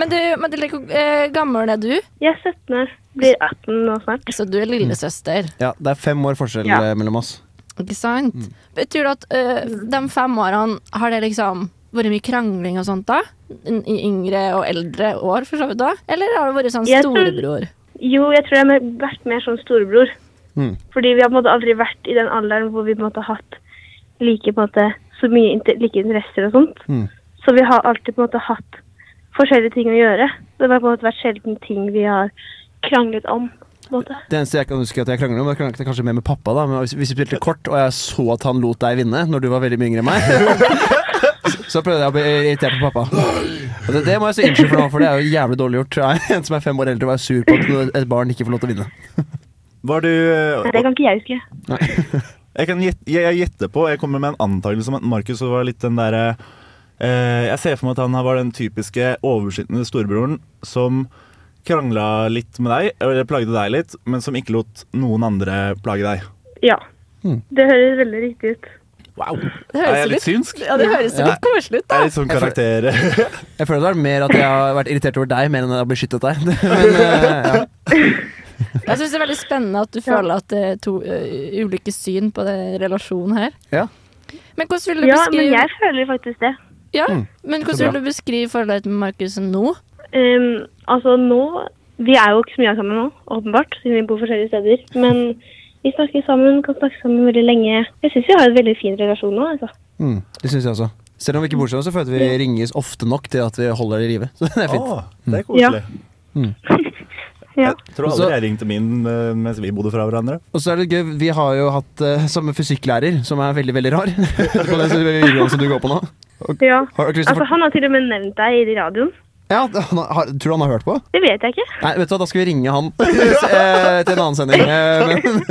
S6: Men du, Mathilde, hvor eh, gammel er du?
S8: Jeg er 17, blir 18 nå snart.
S6: Så du er lillesøster,
S2: Ja, det er fem år forskjell
S8: Ja.
S2: eh, mellom oss.
S6: ikke sant?
S2: Mm.
S6: Betyr det at eh, de fem årene har det liksom vært mye krangling og sånt da? I yngre og eldre år, for så vidt da? Eller har det vært sånn
S8: Jeg tror-
S6: storebror?
S8: Jo, jeg tror jeg har vært mer sånn storebror.
S2: Mm.
S8: Fordi vi har på en måte aldri vært i den alderen hvor vi på en måte har hatt like, på en måte, så mye inter like interesser og sånt.
S2: Mm.
S8: Så vi har alltid på en måte hatt forskjellige ting å gjøre. Det har på en måte vært sjelden ting vi har kranglet om. på en måte.
S2: Det eneste jeg kan huske at jeg kranglet om, jeg kranglet kanskje mer med pappa, da, men hvis hvis vi spilte kort, og jeg så at han lot deg vinne når du var veldig mye yngre enn meg, så prøvde jeg å bli irritert på pappa. Og det, det må jeg så innskylde for nå, for det er jo jævlig dårlig gjort. Jeg er En som er fem år eldre og er sur på at et barn ikke får lov til å vinne.
S3: Var du
S8: Nei, Det kan ikke jeg huske.
S3: Jeg kan gjette, jeg, jeg gjetter på, jeg kommer med en antakelse om at Markus var litt den derre Eh, jeg ser for meg at han var den typiske overbeskyttende storebroren som krangla litt med deg, eller plagde deg litt, men som ikke lot noen andre plage deg.
S8: Ja.
S2: Hmm.
S8: Det høres veldig riktig ut.
S3: Wow. Er
S6: Det
S3: jeg
S6: høres
S3: litt
S6: litt,
S3: synsk?
S6: ja, det høres jo
S2: Ja.
S6: litt koselig ut,
S3: Jeg
S6: da.
S3: er litt sånn karakter
S2: Jeg føler det er mer at jeg har vært irritert over deg mer enn at jeg har beskyttet deg. Men, eh, ja.
S6: Jeg syns det er veldig spennende at du føler at det er to eh, ulike syn på den relasjonen her.
S2: Ja.
S6: Men hvordan vil du
S8: Ja,
S6: beskrive
S8: men jeg føler faktisk det.
S6: Ja,
S2: Mm.
S6: men
S2: Så bra.
S6: hvordan vil du beskrive forholdet til Markus nå?
S8: Ehm, altså nå Vi er jo ikke så mye sammen nå, åpenbart, siden vi bor forskjellige steder. Men vi snakker sammen, kan snakke sammen veldig lenge. Jeg syns vi har en veldig fin relasjon nå. altså.
S2: mm, det syns jeg også. Selv om vi ikke bor sammen, så føler jeg at vi ringes ofte nok til at vi holder det i live. Så det er fint.
S3: Å, det er
S8: Ja.
S3: koselig.
S8: Ja.
S3: Jeg tror aldri
S2: Også-
S3: jeg ringte min eh, mens vi bodde fra hverandre.
S2: Og så er det gøy, vi har jo hatt eh, samme fysikklærer, som er veldig, veldig rar. på den videoen som du går på nå.
S8: ja.
S2: Har du ikke lyst til å
S8: Altså, Han har til og med nevnt deg i radioen.
S2: fort- Ja, han har, tror du han har hørt på?
S8: Det vet jeg ikke.
S2: Nei, vet du hva, da skal vi ringe han eh, til en annen sending. Eh, men,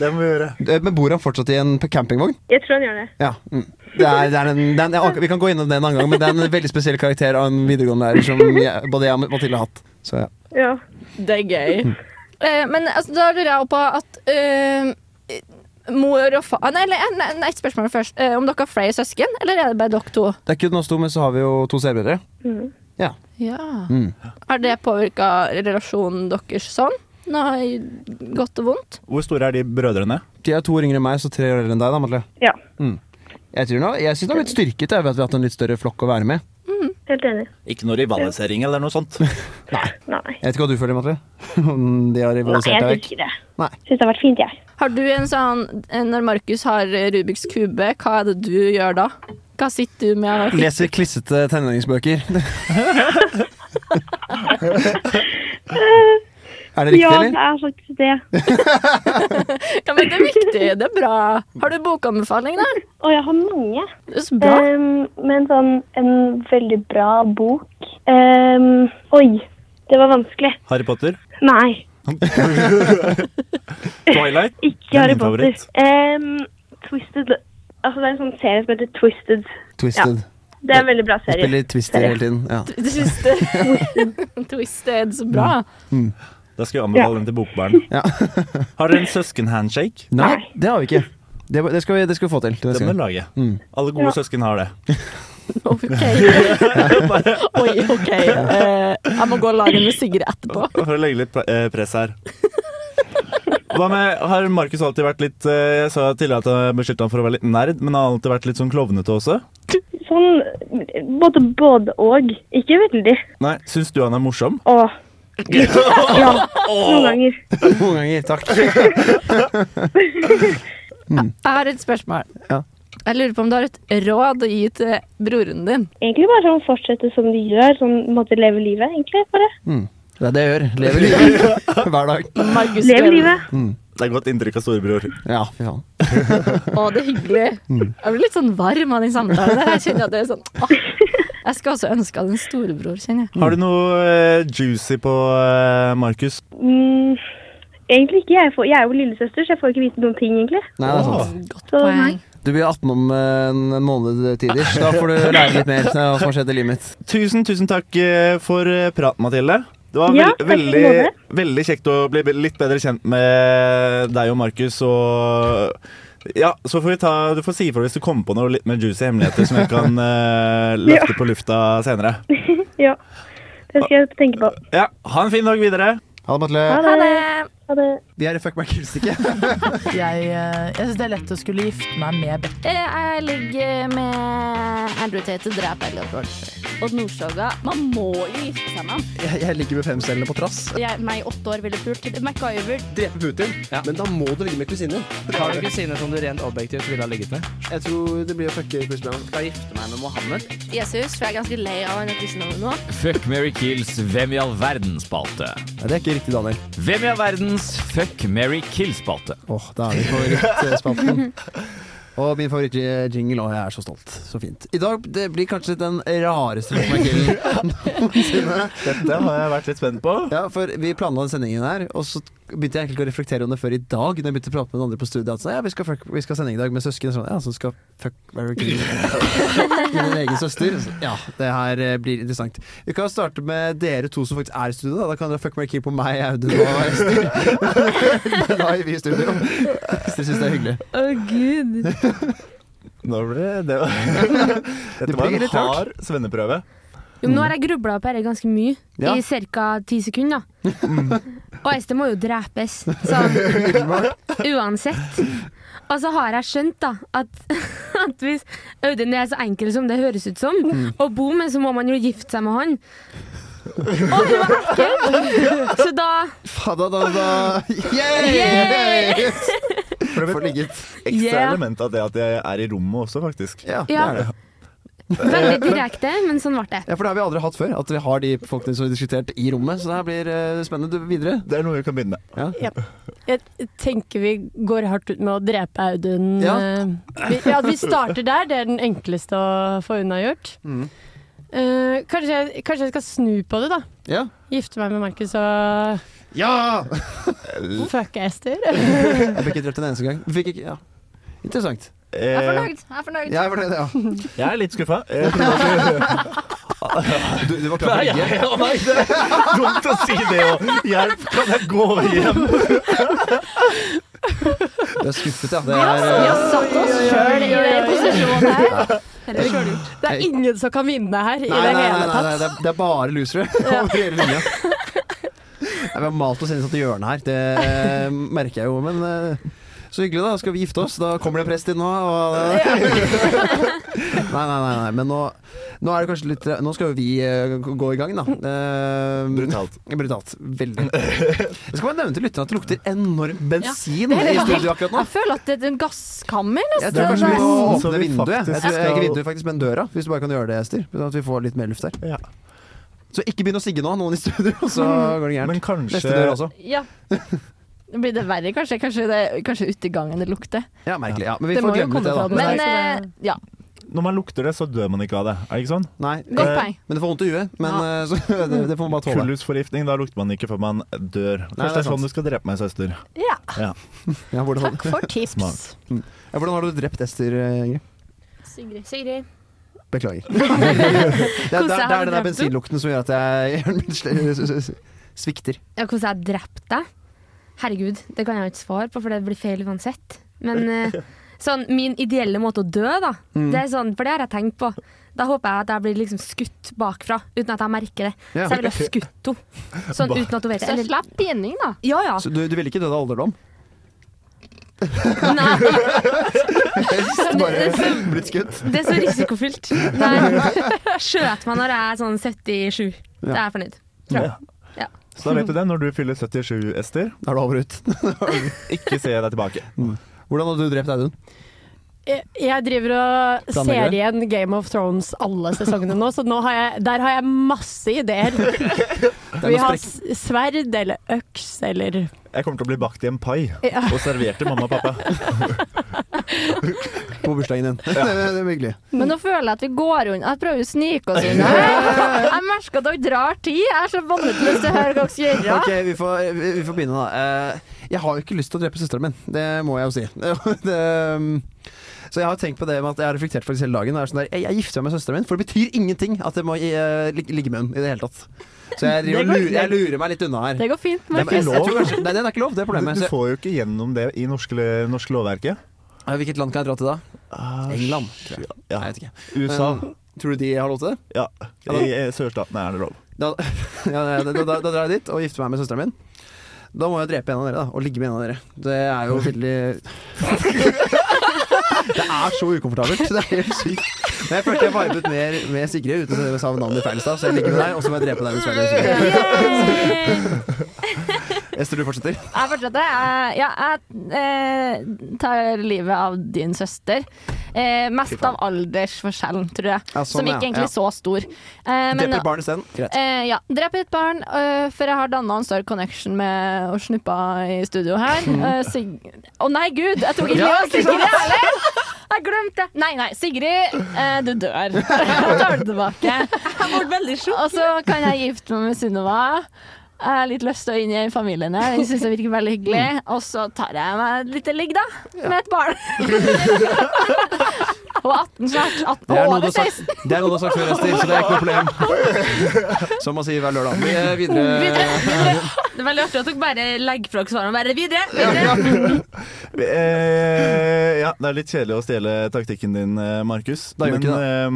S3: Det må vi gjøre.
S2: eh, men bor han fortsatt i en p- campingvogn?
S8: Jeg tror han gjør det.
S2: Ja. Mm. Det er, det er en, det er en, jeg aner- vi kan gå innom det en annen gang, men det er en veldig spesiell karakter av en videregående-lærer som jeg, både jeg og Mathilde har hatt. Så ja.
S8: Ja.
S6: Det er gøy. Eh, men altså, da lurer jeg også på at eh, mor og far Nei, eller, nei, nei et spørsmål først. Eh, om dere har flere søsken, eller er det bare dere to?
S2: Det er ikke kun oss to, men så har vi jo to seerbrødre.
S8: Mhm.
S2: Ja.
S6: Ja.
S2: Mm.
S6: Har det påvirka relasjonen deres sånn? Noe i godt og vondt?
S3: Hvor store er de brødrene?
S2: De er to år yngre enn meg, så tre år eldre enn deg, da, Mathilde.
S8: Ja.
S2: Mm. Jeg, tror nå, jeg syns det har blitt styrket jeg, ved at vi har hatt en litt større flokk å være med.
S8: Helt enig.
S3: Ikke noe rivalisering eller noe sånt.
S8: Nei.
S2: Jeg vet ikke hva du føler, Mathilde. Om de har
S8: Nei,
S2: rivalisert deg
S8: jeg syns
S2: vekk.
S8: ikke det.
S2: Nei.
S8: Syns det har vært fint, jeg.
S6: Har du en sånn eh, Når Markus har eh, Rubiks kube, hva er det du gjør da? Hva sitter du med? og-
S2: Leser klissete tenåringsbøker. er det riktig,
S8: ja, det
S2: eller?
S8: er faktisk det.
S6: Ja, men det er viktig. Det er bra. Har du bokanbefaling, da?
S8: Og jeg har mange.
S6: Det er så bra.
S8: Ehm, men sånn en veldig bra bok Ehm, Oi, det var vanskelig.
S3: Harry Potter.
S8: Nei,
S3: Twilight.
S8: ikke Harry
S3: min
S8: Potter.
S3: favoritt.
S8: Ehm, Twisted Altså, det er en sånn serie som heter Twisted.
S2: Twisted.
S8: Det er en veldig bra serie.
S2: Spiller Twister hele tiden. Ja.
S6: Det siste eh, Twisted, så bra.
S3: Da skal jeg anbefale den til bokbaren.
S2: Ja.
S3: Har dere en søskenhandshake?
S2: Nei,
S8: Nei.
S2: det har vi ikke. Det, det, skal, vi, det skal vi få til. til
S3: Det
S2: neste
S3: må
S2: gang.
S3: du lage.
S2: Mm.
S3: Alle gode søsken har det.
S6: Ok. Oi, OK. Eh, jeg må gå og lage en med Sigrid etterpå.
S3: For å legge litt pla- eh, press her. Hva med, Har Markus alltid vært litt eh, Jeg sa tidligere at jeg beskyldte han for å være litt nerd, men han har alltid vært litt sånn klovnete også?
S8: Sånn både både og. Ikke veldig.
S3: Nei, Syns du han er morsom?
S8: Åh. Ja, noen ganger.
S2: Noen ganger, takk.
S6: Jeg har et spørsmål.
S2: Ja.
S6: Jeg lurer på om du har et råd å gi til broren din.
S8: Egentlig bare sånn fortsette som de gjør. Sånn måte leve livet, egentlig. bare.
S2: Det er det jeg gjør. Lever livet hver dag.
S6: Markus
S8: Leve
S6: Grønn.
S8: livet.
S3: Det er godt inntrykk av storebror.
S2: Ja, fy faen.
S6: Å, det er hyggelig. Jeg blir litt sånn varm av den samtalen. der. Jeg kjenner at det er sånn åh. Jeg skulle også ønske jeg hadde en storebror, kjenner jeg.
S3: Har du noe eh, juicy på eh, Markus?
S8: Mm, egentlig ikke. Jeg, får, jeg er jo lillesøster, så jeg får ikke vite noen ting, egentlig.
S2: Nei, det er sant.
S6: Godt
S8: Så nei.
S6: poeng.
S2: Du blir 18 om eh, en måned tider, så da får du lære litt mer om hva som har skjedd i livet mitt.
S3: Tusen, tusen takk eh, for eh, praten, Mathilde. Det var
S8: Ja,
S3: vel-
S8: takk i
S3: veldig,
S8: måte.
S3: veldig kjekt å bli be- litt bedre kjent med deg og Markus. Og ja, så får vi ta, du får si ifra hvis du kommer på noe litt mer juicy hemmeligheter som jeg kan eh, løfte på lufta senere.
S8: Ja. Det skal jeg tenke på.
S3: Ja, Ha en fin dag videre.
S2: Ha det, Matle.
S8: Ha
S6: Ha
S8: det.
S6: det.
S8: Ha det.
S2: Vi er i Fuck meg ikke?
S9: Jeg, eh, jeg syns det er lett å skulle gifte meg med Beck.
S6: Eh, Jeg ligger med Andrew Tate, drep Elliot Rolf. Odd Nordstoga. Man må jo gifte seg med ham.
S2: Jeg, jeg ligger med femcellene på trass.
S6: Jeg, meg i åtte år ville pult. MacGyver.
S2: Drepe Putin. Men da må du ligge med kusinen.
S10: Har du kusiner som du rent objektivt ville ha ligget med?
S2: Jeg tror det blir å fucke kusinen.
S10: Skal gifte meg med Mohammed.
S6: Jesus, for jeg er ganske lei av denne kristendommen nå.
S11: Fuck Mary Kills Hvem i all verden-spalte.
S2: Ja, det er ikke riktig, Daniel.
S11: Hvem i all verdens Fuck Mary Kill-spalte.
S2: Åh, da er vi på favorittspalten. Og min favorittjingle, og jeg er så stolt. Så fint. I dag det blir kanskje den rareste Fuck meg noensinne.
S3: Dette har jeg vært litt spent på.
S2: Ja, for vi planla den sendingen her, og så begynte jeg egentlig ikke å reflektere om det før i dag, når jeg begynte å prate med den andre på studiet. At sånn, ja, vi skal, fuck, vi skal ha sending i dag med søsken. Sånn, ja, så skal fuck Mary Kill min egen søster. Så, Ja, det her eh, blir interessant. Vi kan starte med dere to som faktisk er i studio. Da, da kan dere fuck Mary Kill på meg, Audun og Ester. da er vi i studio. Hvis dere syns det er hyggelig.
S5: Å, gud.
S3: Nå ble det Dette
S2: Det
S3: var
S2: blir
S3: en
S2: litt rart.
S3: hard svenneprøve.
S5: Jo, men
S2: Mm.
S5: nå har jeg grubla på dette ganske mye,
S3: Ja.
S5: i ca. ti sekunder. da.
S2: Mm.
S5: Og Ester må jo drepes, sånn uansett. Og så har jeg skjønt da at, at hvis Audun er så enkel som det høres ut som,
S12: Mm.
S5: og bor med, så må man jo gifte seg med han. Og hun var ekkel! Så da
S2: Fadda da da
S5: Yay!
S2: Yay!
S3: For det er et ekstra
S5: Yeah.
S3: element av det at jeg er i rommet også, faktisk.
S5: Ja. det er Veldig direkte, men sånn ble det.
S2: Ja, for det har vi aldri hatt før, at vi har de folkene som er diskutert i rommet. Så det her blir eh, spennende Du, videre.
S3: Det er noe vi kan begynne med.
S2: Ja.
S4: Jeg tenker vi går hardt ut med å drepe Audun.
S2: Ja.
S4: Eh, Vi, ja, at vi starter der, det er den enkleste å få unnagjort.
S2: Mm.
S4: Eh, kanskje, jeg- kanskje jeg skal snu på det, da.
S2: Ja.
S4: Gifte meg med Markus og
S3: Mm.
S4: fucke Ester.
S2: Jeg ble ikke drept en eneste gang. Fikk ikke, ja. Interessant.
S3: Jeg
S6: er fornøyd. Jeg er fornøyd.
S2: Jeg er fornøyd, ja.
S3: Jeg er litt skuffa. Jeg trodde at
S2: Du, du var
S3: Nei,
S2: klar for
S3: jeg-
S2: begge?
S3: å nei, det er dumt å si det òg. Hjelp, kan jeg gå hjem?
S2: Du er skuffet, ja. Det
S4: Vi
S2: er,
S4: har- vi
S2: eh,
S4: har satt oss sjøl i den posisjonen her. Det er ingen som kan vinne her i
S2: Nei, nei,
S4: det
S2: nei,
S4: hele
S2: nei, nei
S4: tatt.
S2: det, er, det er bare losere over hele linja. Nei, vi har malt oss inn i et hjørne her, det eh, merker jeg jo. Men eh, så hyggelig, da. Skal vi gifte oss? Da kommer det en prest inn nå. Og, nei, nei, nei, nei. Men nå, nå er det kanskje litt Nå skal jo vi eh, gå i gang, da. Eh,
S3: Brutalt.
S2: Brutalt. Veldig. Jeg skal bare nevne til lytterne at det lukter enormt bensin
S6: Det er
S2: i
S6: helt-
S2: studio akkurat nå.
S6: Jeg føler at det er en gasskammer,
S2: Jeg
S6: nesten.
S2: tror kanskje vi må
S3: Så
S2: åpne
S3: vi
S2: vinduet. Jeg tror,
S3: faktisk
S2: eh, ikke
S3: skal-
S2: vinduet faktisk, men døra, hvis du bare kan gjøre det, Ester. Sånn at vi får litt mer luft der.
S3: Ja.
S2: Så ikke begynn å sigge nå, noen i studio, så går det gærent.
S3: Mm. Men kanskje-
S2: Neste dør også.
S6: Ja. Da blir det verre, kanskje. Kanskje, det, kanskje ute i gangen det lukter.
S2: Ja, merkelig. Ja. Men vi
S6: Det må
S2: får
S6: jo
S2: glemme
S6: komme
S2: det,
S6: fra
S2: da.
S6: den Men eh, ja.
S3: Når man lukter det, så dør man ikke av det. Er det ikke sånn?
S2: Nei,
S6: Godt
S3: Eh,
S6: poeng.
S2: Men det får vondt i huet. Men eh, så, det, det får man bare tåle.
S3: Kullhusforgiftning, da lukter man ikke før man dør.
S2: Nei, det er
S3: Først det er
S2: sant.
S3: sånn du skal drepe meg, søster.
S4: Ja.
S3: Ja.
S2: Ja, hvordan,
S4: Takk for tips.
S3: Smart.
S2: Mm. ja, hvordan har du drept Ester, eh, Ingrid?
S5: Sigrid. Sigrid.
S2: Beklager. det, er- det, er- det er den
S5: har du
S2: der
S5: drept henne?
S2: bensinlukten som gjør at jeg hjernen min sl- s- s- svikter.
S5: Ja, hvordan jeg drepte deg? Herregud, det kan jeg jo ikke svare på, for det blir feil uansett. Men eh, sånn, min ideelle måte å dø, da,
S6: Mm.
S5: det er sånn, for det har jeg tenkt på. Da håper jeg at jeg blir liksom skutt bakfra, uten at jeg merker det.
S2: Ja.
S5: Så jeg ville ha skutt henne. Sånn
S2: Ba-
S5: uten at hun vet det.
S6: Så slapp binding, da.
S5: Ja, ja.
S2: Så du, du ville ikke dødd av alderdom?
S5: Det-
S2: Bare
S5: det er så-
S2: blitt skutt?
S5: Det er så risikofylt. Nei, skjøt meg når jeg er sånn 77.
S3: Ja.
S5: Da er jeg fornøyd.
S3: Ja.
S5: Ja.
S3: Så da vet du det, når du fyller 77, Ester
S2: Da er det over og ut.
S3: Ikke se deg tilbake.
S2: Hvordan hadde du drept Audun?
S4: Jeg- Jeg driver og
S2: Planlegger
S4: ser igjen Game of Thrones alle sesongene nå, så nå har jeg, der har jeg masse ideer.
S3: noe
S4: Vi har s-
S3: sprekk.
S4: sverd eller øks eller
S3: Jeg kommer til å bli bakt i en pai
S4: Ja.
S3: og servert til mamma og pappa.
S2: På bursdagen din. det, det, det er hyggelig.
S6: Men nå føler jeg at vi går unna. Jeg prøver å snike oss unna. Jeg merker at dere drar tid. Jeg er så vanvittig lyst til å høre hva dere gjør.
S2: Ok, vi får, vi, vi får begynne da. Eh, jeg har jo ikke lyst til å drepe søsteren min, det må jeg jo si. det, um, så jeg har tenkt på det med at jeg har reflektert for det hele dagen. Det er sånn der, jeg, jeg gifter meg med søsteren min, for det betyr ingenting at jeg må eh, lig- ligge med henne i det hele tatt. Så jeg, driver, og
S4: Det går-
S2: lurer, jeg lurer meg litt unna her.
S4: Det går fint,
S2: Nei, men jeg
S4: Markus.
S2: tror kanskje- Nei, det er ikke lov, det er
S3: Du,
S2: problemet.
S3: du
S2: Så,
S3: får jo ikke gjennom det i norske, norske lovverket.
S2: Eh, hvilket land kan jeg dra til da? England, tror jeg.
S3: Ja.
S2: Ah, Nei, jeg vet ikke.
S3: USA.
S2: Eh, tror du de har lov til det?
S3: Ja.
S2: Ja,
S3: I
S2: da-
S3: eh, sørstatene er det lov.
S2: Da, ja, da, da, da drar jeg dit og gifter meg med søsteren min. Da må jeg drepe en av dere, da. Og ligge med en av dere. Det er jo veldig Det er så ukomfortabelt. Det er helt sykt. Men jeg følte jeg vibet mer med Sigrid uten at jeg sa navnet i feil stad, så jeg ligger med deg, og så må jeg drepe deg med sverdet. Ester, du fortsetter.
S6: Jeg fortsetter. Jeg, ja, jeg eh, tar livet av din søster. Eh, mest av aldersforskjellen, tror jeg.
S2: Ja, sånn,
S6: som ikke
S2: ja.
S6: egentlig
S2: Ja.
S6: så stor. Eh, men-
S2: Dreper barn isteden. Greit.
S6: Eh, ja. Drep et barn, eh, for jeg har danna en større connection med og snuppa i studio her. Å eh, Sig Å nei, gud! Jeg tok
S12: Mm.
S6: ikke
S12: Ja,
S6: med
S12: ikke sant?
S6: Sigrid heller! Jeg glemte! Nei, nei, Sigrid, eh, du dør. Jeg tar det tilbake. Og så kan jeg gifte meg med Sunniva. Jeg har litt lyst til å inn i den familien her. Den syns jeg virker veldig hyggelig. Og så tar jeg meg et lite ligg, da. Med et barn. Og 18 snart. 18
S12: Det er noe
S6: år
S12: du
S6: er
S12: har sagt,
S6: 16.
S12: det er noe du har sagt før, Ester, så det er ikke noe problem. Som man sier hver lørdag. Vi er videre.
S5: Det er veldig artig at dere bare legger fra dere svarene og bare videre. videre.
S3: Eh, ja, det er litt kjedelig å stjele taktikken din, eh, Markus.
S2: Da gjør
S3: eh,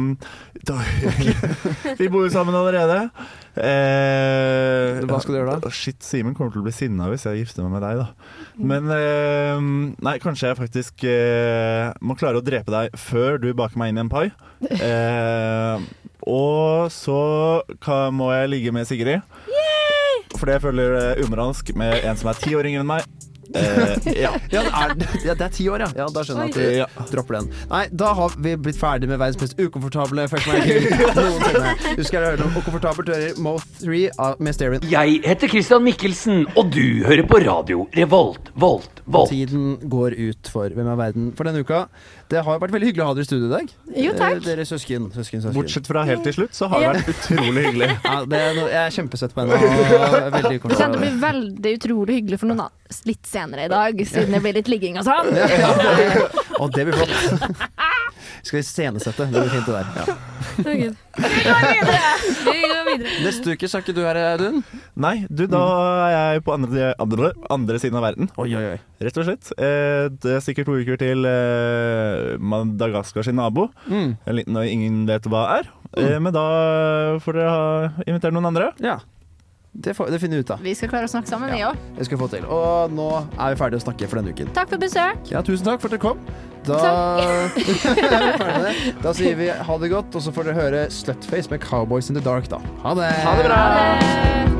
S3: da, Vi bor jo sammen allerede. Eh,
S2: Hva skal du gjøre da?
S3: Shit, Simen kommer til å bli sinna hvis jeg gifter meg med deg, da. Men eh, Nei, kanskje jeg faktisk eh, må klare å drepe deg før du baker meg inn i en pai. Eh, og så kan, må jeg ligge med Sigrid. Fordi jeg føler det umoralsk med en som er ti år yngre enn meg. Eh, ja.
S2: Ja, det er, ja, det er ti år, ja. ja. Da skjønner jeg
S3: Oi.
S2: at du dropper den. Nei, da har vi blitt ferdig med verdens mest ukomfortable Fuck my kill noensinne. Du skal høre noe ukomfortabelt hører Mo uh, 3 av Mysterian.
S13: Jeg heter Christian Mikkelsen, og du hører på radio Revolt, Volt, Volt.
S2: Tiden går ut for Hvem er verden for denne uka. Det har vært veldig hyggelig å ha dere i studio i dag.
S4: Jo, takk.
S2: Eh, Dere søsken, søsken, søsken.
S3: Bortsett fra helt til slutt, så har det Ja. vært utrolig hyggelig.
S2: Ja, det er noe, jeg er kjempesøt på henne. og Veldig
S6: Det kommer til å
S2: ukomfortabel.
S6: bli veldig utrolig hyggelig for noen av oss litt senere i dag, siden det blir litt ligging og sånn.
S2: Ja, ja, det, og det blir flott. Skal vi scenesette. Det blir fint, det der. Ja.
S5: Vi går videre.
S2: Neste uke skal ikke du her, Audun.
S3: Nei, du, da er jeg på andre, andre, andre siden av verden. Rett og slett. Eh, det er sikkert to uker til eh, Madagaskar sin nabo.
S2: Mm.
S3: En liten og ingen vet hva er. Eh, men da får dere ha, invitere noen andre.
S2: Ja. Det, får, det finner vi ut av.
S6: Vi skal klare å snakke sammen, vi òg.
S2: Det skal vi få til. Og nå er vi ferdige å snakke for denne uken.
S6: Takk for besøk.
S2: Ja, tusen takk for at dere kom. Da, er vi ferdig med det. da sier vi ha det godt, og så får dere høre Slutface med Cowboys in the Dark, da. Ha det.
S14: Ha det bra.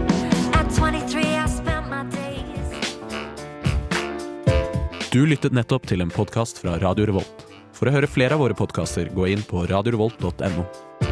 S15: Du lyttet nettopp til en podkast fra Radio Revolt. For å høre flere av våre podkaster, gå inn på radiorevolt.no.